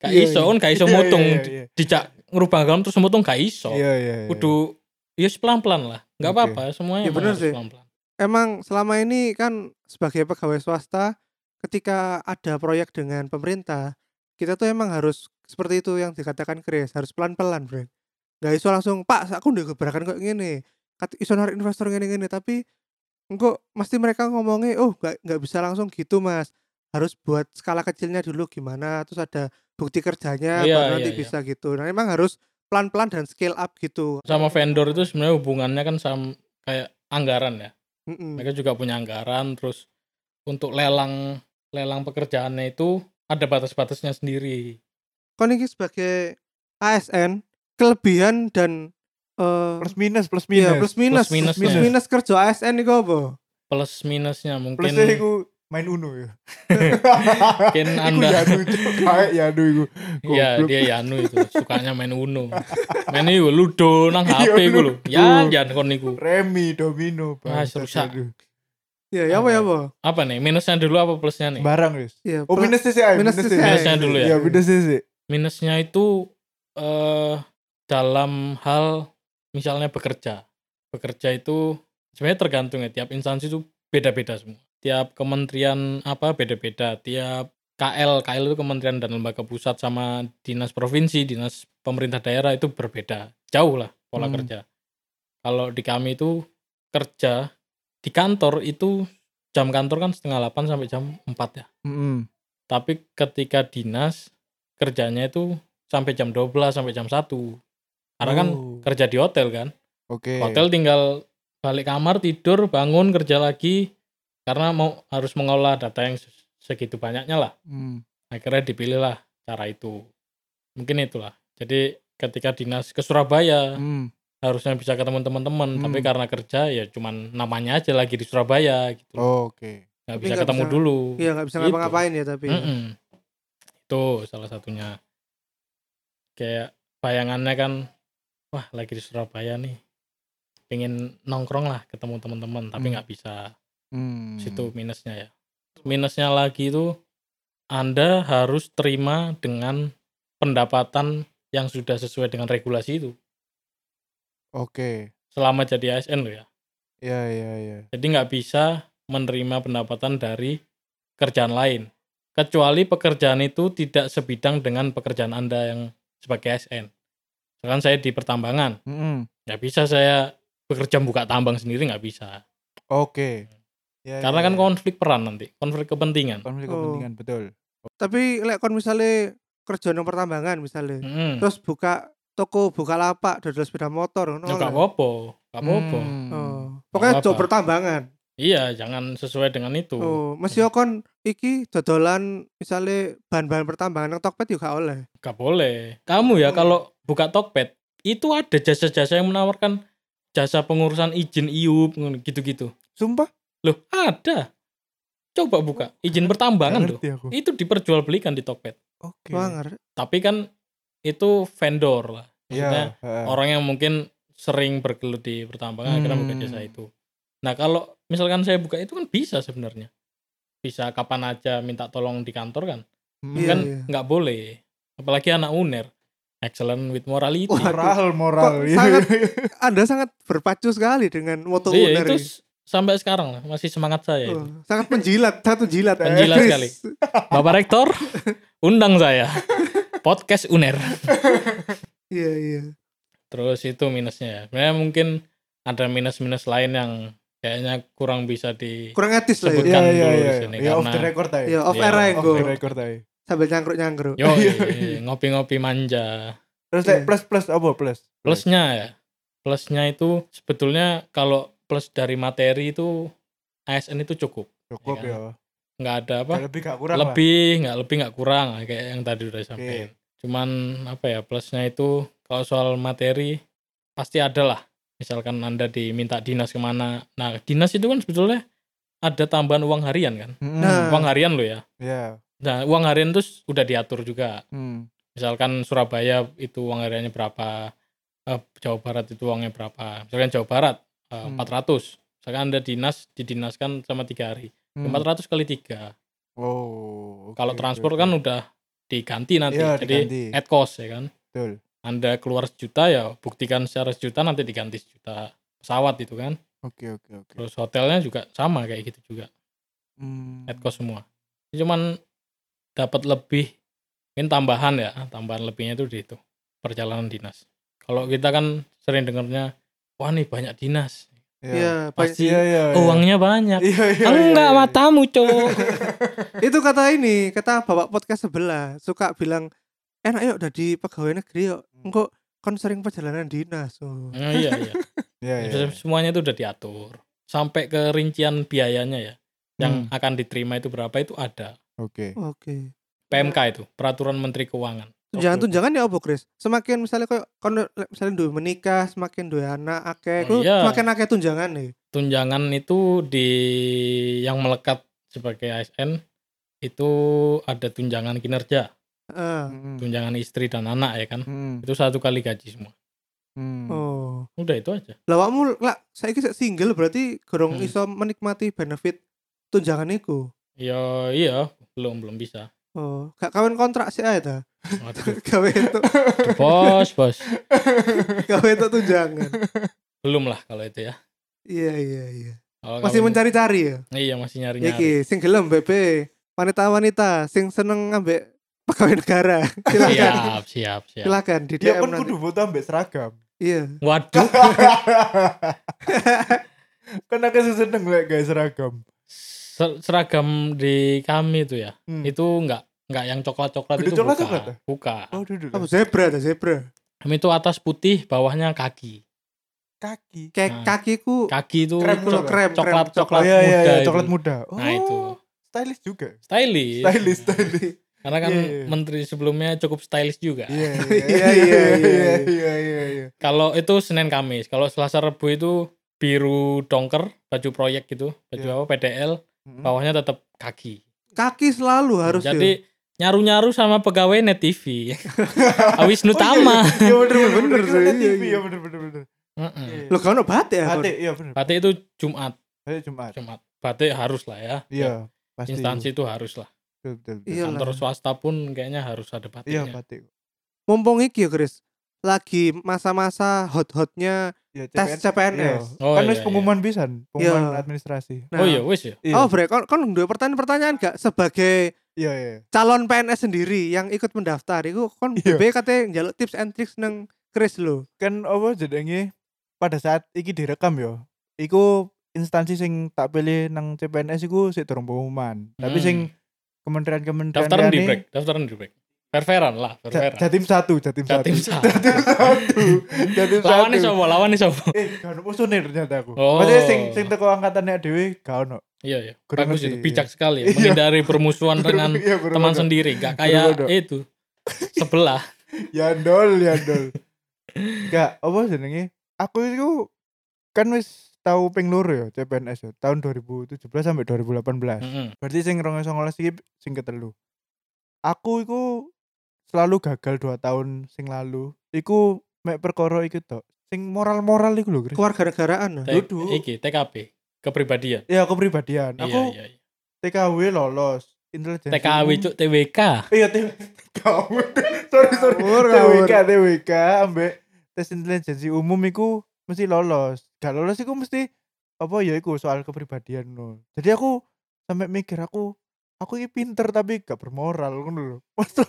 B: gak
A: Iya,
B: iso
A: iya.
B: kon gak iso
C: Iya,
B: motong
C: iya,
B: Di-
C: iya.
B: dijak ngerubah agama terus motong gak iso
C: Iya, iya. iya.
B: kudu ya pelan-pelan lah nggak
C: Oke.
B: apa-apa semuanya
A: Iya,
B: emang
A: bener
B: harus
A: sih.
B: pelan-pelan
A: Emang selama ini kan sebagai pegawai swasta ketika ada proyek dengan pemerintah, kita tuh emang harus seperti itu yang dikatakan Chris, harus pelan-pelan, Bro. Gak iso langsung, "Pak, aku udah gebrakan kok ngene." Kat iso narik investor ngene-ngene, tapi engko mesti mereka ngomongnya, "Oh, gak nggak bisa langsung gitu, Mas. Harus buat skala kecilnya dulu gimana, terus ada bukti kerjanya
B: Iya,
A: baru
B: iya,
A: nanti
B: iya.
A: bisa gitu." Nah, emang harus pelan-pelan dan scale up gitu.
B: sama vendor itu sebenarnya hubungannya kan sama kayak anggaran ya
A: Mm-mm.
B: mereka juga punya anggaran terus untuk lelang lelang pekerjaannya itu ada batas-batasnya sendiri
A: kon iki sebagai ASN kelebihan dan eh
C: plus minus plus
A: ya,
C: minus.
A: plus minus
B: Plus ya. minusnya.
A: plus minus kerja ASN iku apa?
B: plus minusnya mungkin
C: Plusnya iku main Uno ya.
B: [LAUGHS] mungkin
C: [LAUGHS] Iku ya,
B: anda
C: Yadu, cok. kayak Yadu iku.
B: ya
C: Goblok.
B: dia Yanu itu sukanya main Uno main itu Ludo nang
C: [LAUGHS] Iya,
B: HP gue lho ya
C: Ludo.
B: jangan kon niku
C: Remi domino
B: Ah,
C: bangsat,
B: rusak.
C: aduh.
A: Ya, ya apa ya apa?
B: apa nih minusnya dulu apa plusnya nih
C: Barang wis.
A: Ya,
C: Oh
A: plus-
C: minus sih sih. ay,
A: minus sih,
C: sih.
A: ay.
B: Minusnya dulu ya.
C: Ya minus sih sih.
B: minusnya itu eh dalam hal misalnya bekerja bekerja itu sebenarnya tergantung ya tiap instansi itu beda-beda semua tiap kementerian apa beda-beda tiap KL KL itu kementerian dan lembaga pusat sama dinas provinsi dinas pemerintah daerah itu berbeda jauh lah pola
C: Hmm.
B: kerja kalau di kami itu kerja di kantor itu jam kantor kan setengah 8 sampai jam 4 ya
C: Mm-mm.
B: tapi ketika dinas kerjanya itu sampai jam 12 sampai jam 1 karena kan
C: Oh,
B: kerja di hotel kan
C: Oke.
A: Iya.
B: hotel tinggal balik kamar tidur bangun kerja lagi karena mau harus mengolah data yang se- segitu banyaknya lah
C: Hmm.
B: akhirnya dipilihlah cara itu mungkin itulah jadi ketika dinas ke Surabaya
C: Hmm.
B: harusnya bisa ketemu teman-teman tapi
C: Hmm.
B: karena kerja ya cuman namanya aja lagi di Surabaya gitu
C: Oke.
A: Oh, Tapi
B: nggak bisa
A: nggak
B: ketemu
A: bisa-
B: dulu
A: Iya nggak bisa
B: Gitu.
A: ngapa-ngapain ya tapi. ya.
B: Mm-mm. itu salah satunya kayak bayangannya kan wah lagi di Surabaya nih pengen nongkrong lah ketemu teman-teman tapi
C: Hmm.
B: nggak bisa
C: Hmm.
B: situ minusnya ya minusnya lagi itu anda harus terima dengan pendapatan yang sudah sesuai dengan regulasi itu
C: Oke.
B: selama jadi ASN loh ya
C: Ya ya ya.
B: Jadi nggak bisa menerima pendapatan dari kerjaan lain. Kecuali pekerjaan itu tidak sebidang dengan pekerjaan Anda yang sebagai ASN. Misalkan saya di pertambangan,
C: Mm-mm.
B: nggak bisa saya bekerja buka tambang sendiri nggak bisa.
C: Oke. Ya,
B: Karena
C: ya,
B: kan
A: Iya.
C: ya.
B: konflik peran nanti, konflik kepentingan.
C: konflik
A: Oh.
C: kepentingan betul.
A: Tapi lek kon misalnya kerja nang pertambangan misalnya,
B: Mm.
A: terus buka toko, buka lapak, dodol sepeda motor, ngono.
B: Ya
A: nggak?
B: nggak apa-apa, nggak apa-apa.
C: Hmm.
A: Oh, pokoknya
B: Nggak
A: job
B: apa.
A: pertambangan.
B: Iya, jangan sesuai dengan itu.
A: Oh, mesti yo kon iki dodolan misalnya bahan-bahan pertambangan nang Tokped juga oleh.
B: Gak boleh. Kamu ya
A: Hmm.
B: kalau buka Tokped, itu ada jasa-jasa yang menawarkan jasa pengurusan izin IUP gitu-gitu.
C: Sumpah?
B: Loh, ada. Coba buka izin
C: Nggak
B: pertambangan loh.
C: ngerti aku.
B: Itu diperjualbelikan di Tokped.
C: Oke.
A: Wah, ngerti.
B: Tapi kan itu vendor lah.
A: Iya.
B: Maksudnya
C: Ya. ha.
B: orang kan yang mungkin sering bergelut di pertambangan akhirnya buka
C: Hmm.
B: jasa itu. Nah, kalau misalkan saya buka itu kan bisa sebenarnya. Bisa kapan aja minta tolong di kantor kan.
C: Hmm.
A: Iya,
B: kan
A: iya.
B: nggak boleh. Apalagi anak UNER. Excellent with morality.
A: Wah,
C: moral moral. [LAUGHS]
A: Kok
C: Iya,
A: sangat-
C: iya, iya.
A: Anda sangat berpacu sekali dengan moto
B: Iya,
A: uner
B: itu
A: ini.
B: s- sampai sekarang lah masih semangat saya Iya, itu.
A: Oh, sangat menjilat, satu jilat.
B: Menjilat
A: Chris.
B: sekali. Bapak
A: [LAUGHS]
B: Rektor, undang saya. Podcast UNER.
A: Iya, iya.
B: Terus itu minusnya ya. Sebenarnya mungkin ada minus-minus lain yang kayaknya kurang bisa di
A: Kurang etis lah ya.
B: Sebut-
C: Iya
B: Bukan
C: iya
B: dulu di
C: iya.
B: sini,
C: Ya off the
B: karena-
C: record aja.
A: Iya, off
B: Iya,
A: air aja
C: Off
A: Go.
C: the record aja.
A: sambil nyangkruk-nyangkruk.
C: [LAUGHS]
B: Yo,
C: Iya,
B: ngopi-ngopi manja.
C: Terus like,
A: Iya.
C: plus plus apa plus?
B: Plusnya ya. Plusnya itu sebetulnya kalau plus dari materi itu ASN itu cukup.
C: Cukup
B: Iya.
C: ya.
B: Nggak ada apa?
C: Nggak Lebih gak kurang lah.
B: lebih, nggak lebih nggak kurang kayak yang tadi udah sampaikan. Cuman apa ya plusnya itu kalau soal materi pasti ada lah. Misalkan anda diminta dinas kemana, nah dinas itu kan sebetulnya ada tambahan uang harian kan,
C: Mm-mm.
A: Nah.
B: uang harian lo ya.
C: Iya.
B: Nah, uang harian itu udah diatur juga.
C: Hmm.
B: Misalkan Surabaya itu uang hariannya berapa, eh, Jawa Barat itu uangnya berapa. Misalkan Jawa Barat eh,
C: Hmm.
B: 400. Misalkan Anda dinas, didinaskan sama tiga hari.
C: Hmm.
B: 400 kali tiga.
C: Oh. oke,
B: Kalau
C: oke,
B: transport
C: oke.
B: kan udah diganti nanti.
C: Iya,
B: Jadi
C: diganti.
B: at cost ya kan.
C: Betul.
B: Anda keluar sejuta ya buktikan secara sejuta nanti diganti sejuta pesawat itu kan.
C: Oke oke oke.
B: Terus hotelnya juga sama kayak gitu juga.
C: Hmm.
B: at cost semua. Cuman dapat lebih mungkin tambahan ya, tambahan lebihnya itu di itu perjalanan dinas. Kalau kita kan sering dengarnya wah nih banyak dinas,
C: Iya.
A: Iya, Pak.
B: pasti ya.
C: Iya iya. iya.
B: uangnya banyak.
C: Iya iya.
B: Enggak
C: iya, iya.
B: matamu,
C: [LAUGHS]
B: Cok.
A: itu kata ini, kata bapak podcast sebelah suka bilang enak yuk dari pegawai negeri yuk.
B: Hmm.
A: Engko kon sering perjalanan dinas. Oh.
B: Nah, iya, iya.
C: Iya iya.
B: Terus Semuanya itu udah diatur. Sampai ke rincian biayanya ya.
C: Hmm.
B: Yang akan diterima itu berapa itu ada.
C: Oke.
A: Oke.
B: PMK itu, Peraturan Menteri Keuangan.
A: Tunjangan-tunjangan ya opo, Kris? Semakin misalnya koyo kon le- misalnya duwe menikah, semakin duwe anak akeh, ku
B: Oh, iya.
A: semakin akeh tunjangan ya? nih.
B: tunjangan itu di yang melekat sebagai ASN itu ada tunjangan kinerja,
A: Heeh.
C: Hmm.
B: tunjangan istri dan anak ya kan.
C: Hmm.
B: Itu satu kali gaji semua.
C: Hmm.
A: Oh.
B: Udah itu aja.
A: Lawakmu lah saiki sek single berarti gorong
B: Hmm.
A: iso menikmati benefit tunjangan iku.
B: Ya iya, belum belum bisa.
A: Oh, gak kawin kontrak sih ae ta.
C: [LAUGHS]
B: Waduh,
A: [LAUGHS] Gawe entuk
B: bos, bos.
A: gawe entuk tunjangan.
B: Belum lah kalau itu ya.
A: Iya iya iya.
B: Kalau
A: Masih
B: kawin-
A: mencari-cari ya.
B: Iya, masih nyari-nyari.
A: Iki sing gelem BB wanita-wanita sing seneng ambek pegawai negara. Silakan.
B: Siap, siap, siap.
A: Silakan di DM
C: Dia kan
A: nanti.
C: kudu buta ambek [LAUGHS] seragam.
A: Iya.
B: Waduh,
C: Karena kasih seneng lek guys seragam.
B: ser- seragam di kami itu ya.
C: Hmm.
B: Itu enggak enggak yang coklat-coklat
C: Gede
B: itu
C: coklat-coklat
B: buka.
C: ya?
B: Buka.
C: Oh duduk.
A: Apa zebra ta zebra?
B: Kami itu atas putih, bawahnya kaki.
C: Kaki.
A: Kayak
B: Nah.
A: kakiku
B: Kaki itu
C: Krem
A: coklat krem krem
B: coklat coklat
C: Iya
B: muda
C: iya iya
B: itu. Iya.
C: coklat muda.
B: Nah, itu.
C: Stylish juga.
B: stylish
C: Stylish stylish.
B: Karena kan
C: Iya, iya.
B: menteri sebelumnya cukup stylish juga.
C: [LAUGHS] [LAUGHS] Iya
A: Iya, iya, iya.
C: iya iya iya.
B: Kalau itu Senin Kamis, kalau Selasa Rebu itu biru dongker, baju proyek gitu, baju
C: Iya.
B: apa PDL,
C: Mm-mm. ya?
B: bawahnya tetap kaki.
A: Kaki selalu harus ya. Yul.
B: Jadi nyaru-nyaru sama pegawai Net
C: [LAUGHS]
B: TV. Wisnu Tama.
C: Oh Iya bener
A: Iya,
C: bener
A: bener
C: bener.
A: sih,
C: Iya,
A: iya,
C: TV,
A: iya.
C: iya bener bener bener.
B: Heeh.
A: Loh kan bate ya.
C: Batik, iya bener.
B: Batik itu Jumat,
C: Batik Jumat.
B: Jumat. Batik harus lah ya.
C: Iya, pasti.
B: Instansi itu harus lah.
C: Betul, betul, betul.
A: Iya. Iyalah.
B: Kantor swasta pun kayaknya harus ada
C: Iya,
B: batiknya.
C: batik.
A: Mumpung iki ya Chris. Lagi masa-masa hot-hotnya
C: Iya,
A: tes
C: CPNS.
A: CPNS.
B: Oh,
C: kan
B: iya,
C: wis
B: iya.
C: pengumuman pisan, pengumuman
A: Iya.
C: administrasi.
A: Nah,
B: oh iya, wis ya.
C: Iya.
A: Oh, Bre, kon kon duwe pertanyaan-pertanyaan gak sebagai
C: Iya, iya.
A: calon PNS sendiri yang ikut mendaftar iku kon
C: Iya.
A: BB katanya njaluk tips and tricks nang Chris lo.
C: Kan apa jenenge pada saat iki direkam yo. Iku instansi sing tak pilih nang CPNS iku sik durung pengumuman. Tapi
B: Hmm.
C: sing kementerian-kementerian
B: daftaran di
C: liane-
B: break, daftaran di break. Fair-fairan lah,
C: Ja-
B: fair-fairan.
C: Jatim satu, Jatim satu. [LAUGHS]
B: Jatim satu.
C: satu. Jatim satu.
B: Lawannya sapa? Lawannya sapa?
C: Eh, gak ono musuhnya ternyata aku.
B: Oh.
C: Maksudnya sing sing teko angkatannya dhewe gak ono.
B: Iya, iya.
C: Kurang
B: Bagus
C: ngerti,
B: itu, bijak
C: [LAUGHS] iya.
B: sekali. ya.
C: Iya.
B: Menghindari permusuhan dengan
C: [LAUGHS] Iya, guru
B: teman
C: ono.
B: sendiri, gak
C: Bener,
B: kayak
C: bener.
B: itu.
C: [LAUGHS]
B: Sebelah.
C: Ya ndol, ya ndol. Gak apa jenenge? Aku itu kan wis tahu ping loro ya CPNS ya, tahun 2017 sampai 2018.
B: Mm-mm.
C: Berarti sing 2019 iki sing ketelu. Aku iku selalu gagal 2 tahun sing lalu. Iku mek perkara iku tok. Sing moral-moral iku lho, Kris.
A: Keluar gara-garaan.
B: Te-
C: Duduk.
B: Iki, TKP. Kepribadian.
C: Ya kepribadian.
B: Iya,
C: Aku
B: iya. iya.
C: TKW lolos. Intelijensi.
B: TKW, cuk, TWK.
C: Iya, T- TKW. sorry, sorry.
A: Ngawur, ngawur.
C: TWK, TWK ambek tes intelijensi umum iku mesti lolos. Gak lolos iku mesti apa ya iku soal kepribadian no. Jadi aku sampai mikir aku aku ini pinter tapi gak bermoral ngono lho. [LAUGHS] Masuk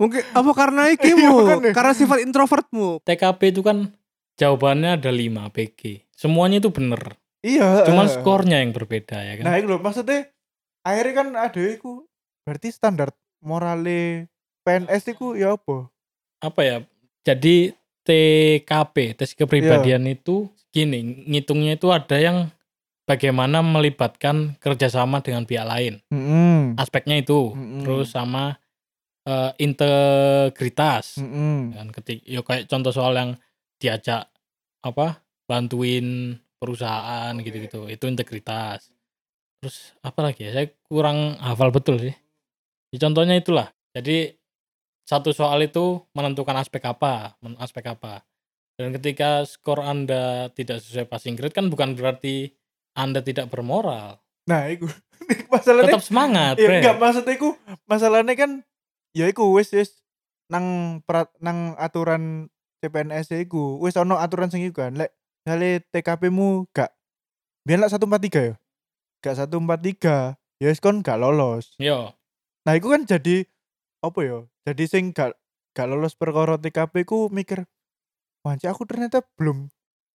A: Mungkin apa
C: [LAUGHS]
A: karena
C: Iya,
A: ikimu?
C: makanya.
A: karena sifat introvertmu.
B: TKP itu kan jawabannya ada 5 PG. Semuanya itu bener.
C: Iya.
B: Cuman
C: eh.
B: skornya yang berbeda ya kan.
C: Nah, iku lho maksudnya akhirnya kan ada iku berarti standar morale PNS iku ya apa?
B: apa ya jadi TKP tes kepribadian
C: Iya.
B: itu gini ngitungnya itu ada yang bagaimana melibatkan kerjasama dengan pihak lain
C: Heeh.
B: aspeknya itu
C: Mm-mm.
B: terus sama eh, integritas
C: Heeh.
B: dan ketik yo kayak contoh soal yang diajak apa bantuin perusahaan gitu-gitu itu integritas terus apa lagi ya saya kurang hafal betul sih Ya, contohnya itulah jadi satu soal itu menentukan aspek apa men- aspek apa dan ketika skor anda tidak sesuai passing grade kan bukan berarti anda tidak bermoral
C: Nah, iku. [LAUGHS] Masalahnya
B: tetap semangat
C: ya
B: Bre.
C: enggak maksudnya iku masalahnya kan ya iku wis wis nang perat, nang aturan CPNS ya iku wis ono aturan sing iku kan lek misalnya TKP mu gak biar lek 143 ya gak 143 ya wis kon gak lolos
B: yo
C: nah iku kan jadi apa ya jadi sing gak gak lolos perkara TKP ku mikir wanci aku ternyata belum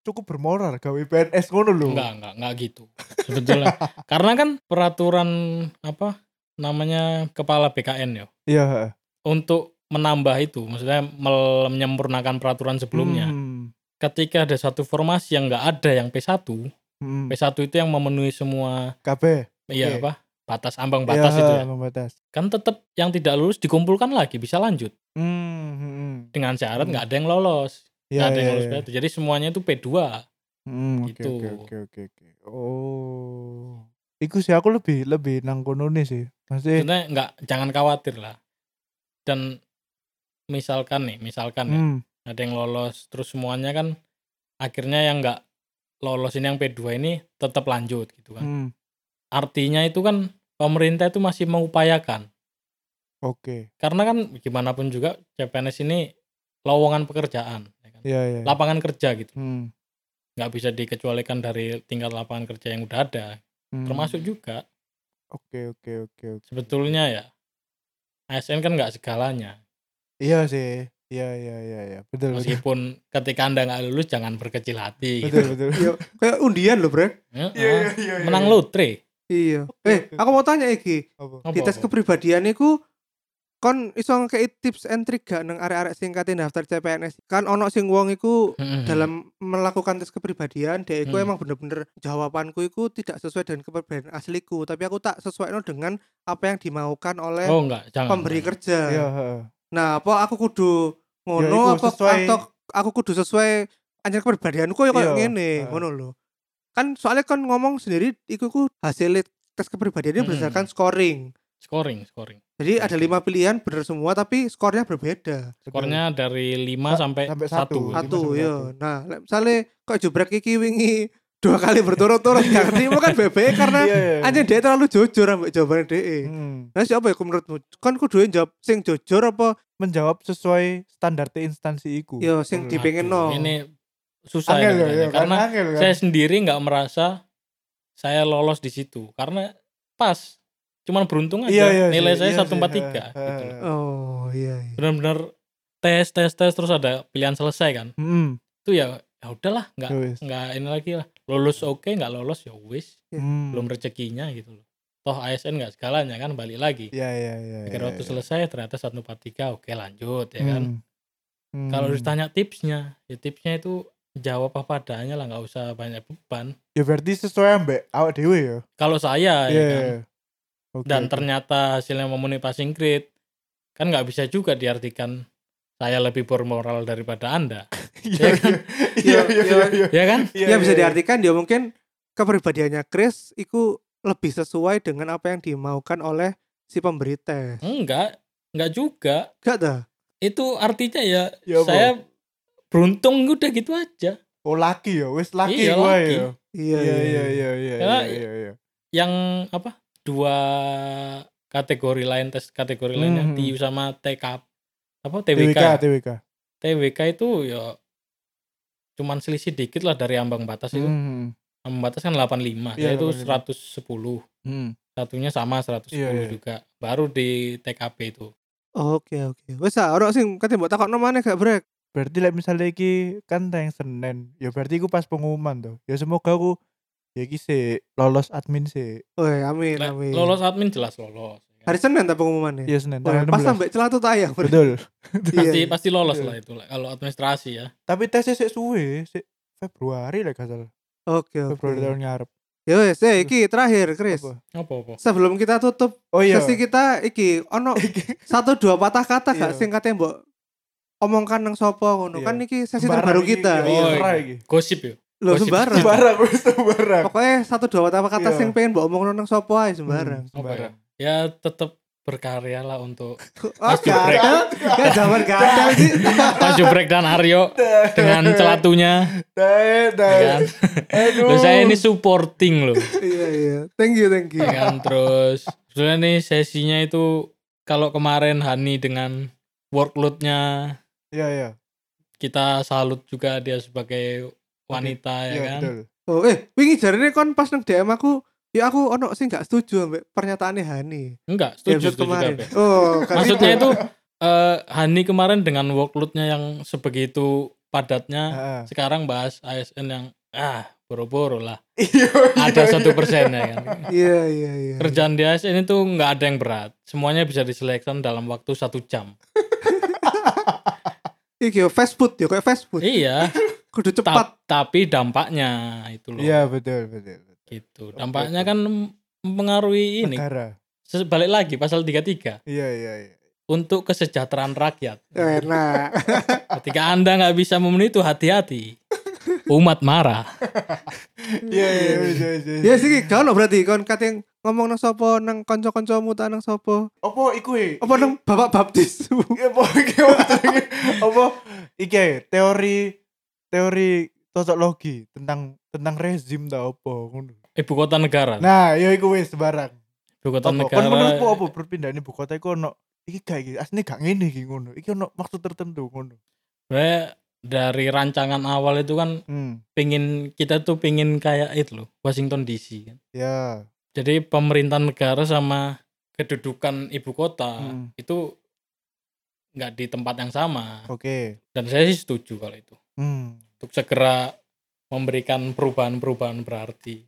C: cukup bermoral gawe PNS ngono lho
B: Enggak, enggak, enggak gitu.
C: [LAUGHS]
B: Sebetulnya. Karena kan peraturan apa namanya kepala BKN ya.
C: iya
B: Untuk menambah itu, maksudnya mel- menyempurnakan peraturan sebelumnya.
C: Hmm.
B: Ketika ada satu formasi yang enggak ada yang P1,
C: Hmm.
B: P1 itu yang memenuhi semua
C: KB
B: iya
C: Oke.
B: apa? batas ambang batas
C: Iya,
B: itu ya.
C: membatas
B: Kan tetap yang tidak lulus dikumpulkan lagi bisa lanjut
C: Hmm, hmm, hmm.
B: dengan syarat
C: Hmm.
B: enggak ada yang lolos. Nggak
C: Ya,
B: ada yang
C: ya,
B: lolos
C: ya.
B: P1. Jadi semuanya itu P2.
C: Hmm, oke
B: Gitu.
C: oke oke oke oke. Oh. Iku sih aku lebih lebih nang kono nih sih. Maksudnya
B: Sebenarnya enggak jangan khawatir lah. Dan misalkan nih, misalkan ya,
C: hmm,
B: ada yang lolos terus semuanya kan akhirnya yang nggak lolos ini yang P2 ini tetap lanjut gitu kan
C: hmm.
B: artinya itu kan pemerintah itu masih mengupayakan
C: Oke.
B: karena kan gimana pun juga CPNS ini lowongan pekerjaan ya kan?
C: Ya ya.
B: lapangan kerja gitu
C: Hmm,
B: nggak bisa dikecualikan dari tingkat lapangan kerja yang udah ada
C: hmm.
B: termasuk juga
C: Oke oke oke oke.
B: sebetulnya ya ASN kan nggak segalanya
C: Iya sih. Iya iya iya iya. Betul betul.
B: meskipun ketika anda nggak lulus jangan berkecil hati gitu.
C: Betul
B: [LAUGHS]
C: betul.
A: Iya, kayak undian loh, Bre.
B: Heeh.
C: iya.
B: menang lotre
A: Iya. Eh, aku mau tanya iki,
C: Apa?
A: di tes
B: Apa-apa.
A: kepribadian iku kon iso ngekei tips and trick gak nang arek-arek sing kate daftar CPNS kan ono sing wong iku
C: Hmm.
A: dalam melakukan tes kepribadian dia iku
B: Hmm.
A: emang bener-bener jawabanku iku tidak sesuai dengan kepribadian asliku tapi aku tak sesuaikan dengan apa yang dimaukan
C: Eh,
A: oleh
B: oh enggak jangan
A: pemberi kerja
C: Ah. Iya, heeh.
A: nah apa aku kudu
C: iku
A: ngono apa
C: sesuai-
A: atau aku kudu sesuai anjir kepribadianku ya kayak
C: Iya,
A: ngene
C: heeh.
A: ngono lho kan soalnya kan ngomong sendiri iku ku hasil tes kepribadiannya
C: Hmm.
B: Mm-mm.
A: berdasarkan scoring
B: scoring scoring
A: jadi ada lima pilihan bener semua tapi skornya berbeda
B: skornya dari 5
C: Hmm. Sa-
B: sampai,
C: sampai
B: satu
C: satu. Oh, Lima
A: satu
C: sampai
A: yo nah lek misalnya kok jubrek iki wingi [LAUGHS] dua kali berturut-turut gak terima kan bebe karena
C: Iya, iya.
A: anjir dia terlalu jujur ambek jawabannya dia
C: Hmm.
A: nah siapa ya ku menurutmu kan kudu yang jawab sing jujur apa
C: menjawab sesuai standar instansi iku.
A: yo sing
C: Bener.
A: dipengen no
B: Aduh, ini susah ya,
C: Angel ya,
B: kayaknya.
C: iya,
B: karena
C: angel kan.
B: saya sendiri nggak merasa saya lolos di situ karena pas cuman beruntung aja
C: Iya, iya
B: nilai
C: sih,
B: saya 143
C: iya sih, heeh,
B: gitu loh.
C: heeh.
A: oh iya iya
B: benar-benar tes tes tes terus ada pilihan selesai kan
C: Mm-mm.
B: itu ya ya udahlah nggak
C: Ya Hmm, wis.
B: nggak ini lagi lah lulus oke nggak lolos ya wis
C: Hmm.
B: belum rezekinya gitu loh toh ASN nggak segalanya kan balik lagi
C: Iya, iya, iya. iya,
B: kira waktu
C: iya.
B: selesai ternyata 143 oke lanjut ya kan
C: Hmm. Hmm.
B: kalau ditanya tipsnya ya tipsnya itu jawab apa adanya lah nggak usah banyak beban
C: ya berarti sesuai ambek awak dhewe ya.
B: kalau saya ya
C: Iya, iya,
B: kan
C: iya. Oke, [LAUGHS]
B: dan
C: oke.
B: ternyata hasilnya memenuhi passing grade kan nggak bisa juga diartikan saya lebih bermoral daripada
C: [LAUGHS]
B: anda
C: Iya,
B: ya kan?
C: iya, iya, iya, iya.
B: ya kan
C: Iya,
A: ya bisa
C: iya, iya.
A: diartikan dia mungkin kepribadiannya Chris itu lebih sesuai dengan apa yang dimaukan oleh si pemberi tes.
B: enggak enggak juga
A: Gak dah.
B: itu artinya ya,
C: Ya, apa?
B: saya beruntung udah gitu aja
C: Oh, laki ya, wis laki
B: Iya,
C: gua
B: laki.
C: ya.
A: Iya
C: Iya, iya, iya, iya,
B: Karena-
C: iya, iya.
B: yang apa dua kategori lain tes kategori lain yang
C: Mhm.
B: TIU sama TK apa
C: TWK,
B: TWK
C: TWK.
B: TWK itu ya cuman selisih dikit lah dari ambang batas itu
C: Hmm.
B: ambang batas kan 85
C: Iya,
B: yaitu
C: 85.
B: 110
C: Hmm.
B: satunya sama 110
C: Iya, iya.
B: juga baru di TKP itu
A: Oke oke. Wes ah, orang sing kate mbok takokno maneh gak brek.
C: berarti like misalnya iki kan tayang Senin ya berarti aku pas pengumuman tuh ya semoga aku ya iki sih lolos admin sih
A: Woi, amin
B: Lah,
A: amin.
B: lolos admin jelas lolos
A: Hari Senin tak pengumumannya.
C: ya Senin
A: Wah,
C: tanggal
A: pas
C: 16
A: sampai celah tuh tayang. ya, Brek.
C: betul
B: pasti
A: Iya.
B: pasti lolos
C: Iya.
B: lah itu lah kalau administrasi ya
C: tapi tesnya sih suwe sih Februari lah gak salah
A: Oke
C: Februari
A: oke.
C: tahun ngarep
A: Ya wes, eh, iki terakhir Chris.
C: Apa?
B: apa apa
A: Sebelum kita tutup
C: oh iya
A: sesi kita iki
C: [LAUGHS]
A: ono satu dua patah kata gak
C: Iya.
A: sing kate mbok omongkan nang sapa ngono.
C: Iya.
A: Kan iki sesi
C: Sembarang
A: terbaru
C: iki,
A: kita.
C: iya,
B: Oh,
C: sembarang
B: iya.
C: [LAUGHS] iki.
B: gosip ya
A: Loh
B: Gosip.
A: sembarang.
C: sembarang wis sembarang
A: pokoknya satu dua kata kata
C: Iya.
A: sing pengen mbok omongno nang sapa ae sembarang.
C: Hmm, sembarang
B: ya tetap berkarya lah untuk
A: Ah,
B: Mas Jubrek.
A: gadal. Ya zaman gadal
B: [LAUGHS]
A: sih.
B: Pak Jubrek dan
C: [LAUGHS]
B: Aryo dengan celatunya
C: Dae, dae. Eh,
B: kan
C: aduh
B: Loh, saya ini supporting loh
A: Iya iya. Thank you thank you.
B: ya kan terus sebenarnya nih sesinya itu kalau kemarin Hani dengan workloadnya
C: iya iya
B: kita salut juga dia sebagai wanita ya
C: iya
B: kan
C: betul
A: Oh eh wingi jarine kon pas nang DM aku ya aku ono sing gak setuju ambek pernyataane Hani.
B: enggak
A: Di
B: setuju
A: episode
B: setuju juga
A: kemarin.
B: Be.
A: Oh, kan
B: maksudnya itu eh, Hani kemarin dengan workloadnya yang sebegitu padatnya
C: Heeh.
B: sekarang bahas ASN yang ah boro-boro lah
C: Iya,
B: ada
C: iya,
B: satu
C: iya.
B: persen ya kan
A: Iya iya iya.
B: kerjaan di ASN itu nggak ada yang berat semuanya bisa diselesaikan dalam waktu satu jam
A: Iki yo fast food yo kayak fast food.
C: [LAUGHS]
B: iya
A: Kudu cepat.
B: ta- tapi dampaknya itu loh
C: iya betul betul
B: gitu
C: Oke,
B: dampaknya
C: oke.
B: kan mempengaruhi ini
C: negara
B: Se- balik lagi pasal 33
C: iya iya iya
B: untuk kesejahteraan rakyat
A: Ya,
B: [LAUGHS]
A: Enak.
B: ketika anda nggak bisa memenuhi itu
C: [LAUGHS]
B: hati-hati umat marah
C: iya iya iya iya
A: Ya sih gak ono berarti kon kate ngomong nang sapa nang kanca-kancamu ta nang sapa?
C: Apa iku Iya, e?
A: Apa nang bapak baptis? [LAUGHS]
C: Apa iki maksudnya? Apa iki ae, teori teori sosiologi tentang tentang rezim ta apa ngono.
B: ibu kota negara
C: Nah, ya iku wis sembarang.
B: ibu kota
C: Apa
B: negara
C: kon menurutmu apa perpindahan ibu kota iku ono iki gak iki asline gak ngene iki ngono. Iki ono maksud tertentu ngono.
B: sebenarnya dari rancangan awal itu kan
C: Hmm.
B: pingin kita tuh pingin kayak itu loh Washington DC kan
C: Ya.
B: jadi pemerintah negara sama kedudukan ibu kota
C: Hmm.
B: itu nggak di tempat yang sama
C: Oke.
B: dan saya sih setuju kalau itu
C: Hmm.
B: untuk segera memberikan perubahan-perubahan berarti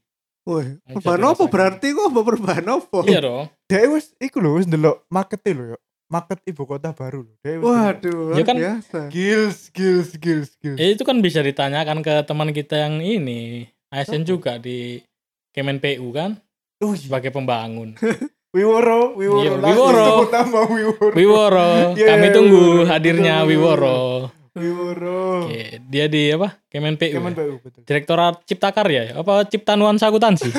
A: Woi,
B: Ayo,
A: perubahan apa
B: jadi rasanya.
C: Oh.
A: berarti kok apa perubahan apa?
B: iya dong
C: Dek wis iku lho wis ndelok markete lho yo. market ibu kota baru loh. Dia wis denger.
A: Waduh,
B: Ya
A: luar
B: kan-
A: biasa.
C: Gils, gils, gils, gils.
B: Eh, itu kan bisa ditanyakan ke teman kita yang ini ASN
C: Siapa?
B: juga di Kemen PU kan
C: Oh, iya.
B: sebagai pembangun
C: Wiworo, Wiworo.
B: Iya,
C: langsung
B: Wiworo.
C: sebut nama Wiworo.
B: Wiworo
C: [LAUGHS] Iya,
B: kami
C: iya, Oh.
B: tunggu
C: Wiworo.
B: hadirnya
C: Betul,
B: Wiworo
C: Wiworo.
B: Oke, dia di apa Kemen PU
C: Kemen
B: ya?
C: PU betul.
B: Direktorat Cipta Karya ya? apa Cipta Nuansa
C: [LAUGHS]
B: Akuntansi [LAUGHS]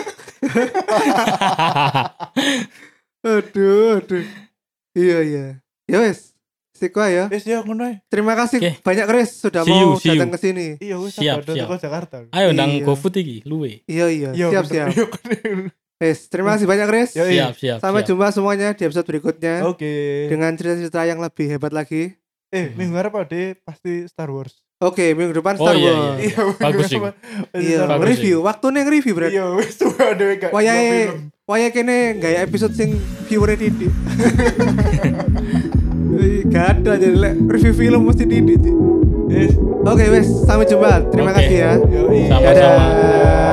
A: Aduh, aduh. Iya, iya. Ya wes. Sik wae ya.
C: Wis ya ngono ae.
A: Terima kasih
B: Oke.
A: banyak Chris sudah
B: See
A: mau
B: you, see you.
A: datang ke sini.
C: Iya wis
B: Siap,
C: Sabado
B: siap.
C: teko Jakarta.
B: ayo ndang
A: Iya.
B: GoFood iki luwe
A: Iya, iya.
C: Iya,
A: Siap,
C: bener.
A: siap.
C: Iya, bener.
A: Wes, terima kasih banyak Chris.
C: Yoi.
B: siap siap
A: Sampai
B: siap.
A: jumpa semuanya di episode berikutnya
C: Oke.
A: dengan cerita-cerita yang lebih hebat lagi.
C: Eh, minggu harap ada pasti Star Wars.
A: Oke, minggu depan
B: Oh
A: Star
B: iya
A: Wars.
B: iya. Bagus sih.
A: Iya,
C: Iya,
B: Bagus.
A: review. Waktu neng review, Bro.
C: Iya, [LAUGHS] wis tuh ada gak.
A: Wayahe wayahe kene gaya episode sing viewer [LAUGHS] Didi. Wih, Gak ada jadi lek review film mesti Didi. Ci.
C: Yes.
A: Oke, wes, sampai jumpa. Terima
B: Oke.
A: kasih ya.
C: Yoi.
B: Sama-sama.
A: Dadah.